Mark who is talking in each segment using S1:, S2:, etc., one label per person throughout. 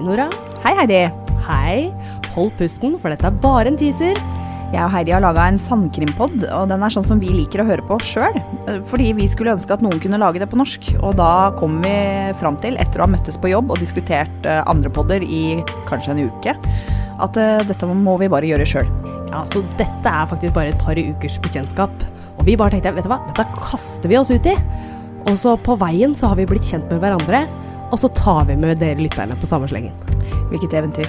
S1: Nora.
S2: Hei, Heidi.
S1: Hei. Hold pusten, for dette er bare en teaser.
S2: Jeg og Heidi har laga en sandkrimpod, og den er sånn som vi liker å høre på sjøl. Fordi vi skulle ønske at noen kunne lage det på norsk. Og da kom vi fram til, etter å ha møttes på jobb og diskutert eh, andre podder i kanskje en uke, at eh, dette må vi bare gjøre sjøl.
S1: Ja, så dette er faktisk bare et par ukers bekjentskap. Og vi bare tenkte, vet du hva, dette kaster vi oss ut i. Og så på veien så har vi blitt kjent med hverandre, og så tar vi med dere lytterne på samme slengen.
S2: Hvilket eventyr.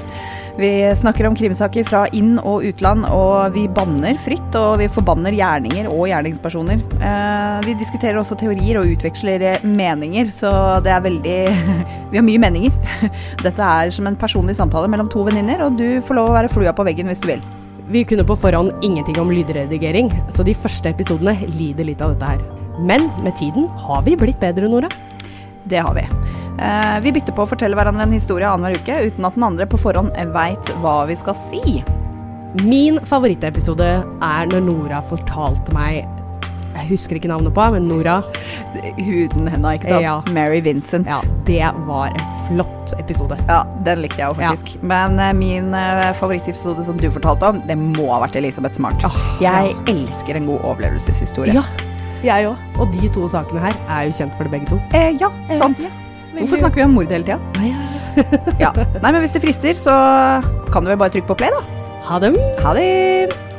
S2: Vi snakker om krimsaker fra inn- og utland, og vi banner fritt. Og vi forbanner gjerninger og gjerningspersoner. Eh, vi diskuterer også teorier og utveksler eh, meninger, så det er veldig Vi har mye meninger. Dette er som en personlig samtale mellom to venninner, og du får lov å være flua på veggen hvis du vil.
S1: Vi kunne på forhånd ingenting om lydredigering, så de første episodene lider litt av dette her. Men med tiden har vi blitt bedre, Nora.
S2: Det har vi. Eh, vi bytter på å fortelle hverandre en historie annenhver uke uten at den andre på forhånd veit hva vi skal si.
S1: Min favorittepisode er når Nora fortalte meg Jeg husker ikke navnet på, men Nora
S2: Huden henda, ikke sant?
S1: Ja.
S2: Mary Vincent.
S1: Ja, det var en flott episode.
S2: Ja, den likte jeg jo faktisk. Men eh, min eh, favorittepisode som du fortalte om, det må ha vært Elisabeth Smart.
S1: Åh,
S2: jeg elsker en god overlevelseshistorie.
S1: Ja, jeg òg. Og de to sakene her er jo kjent for det begge to.
S2: Eh, ja
S1: Eh,
S2: sant.
S1: ja,
S2: Hvorfor snakker vi om mord hele tida?
S1: vi
S2: Ja. Nei, men hvis det frister, så kan du vel bare trykke på play, da.
S1: Ha dem!
S2: Ha det!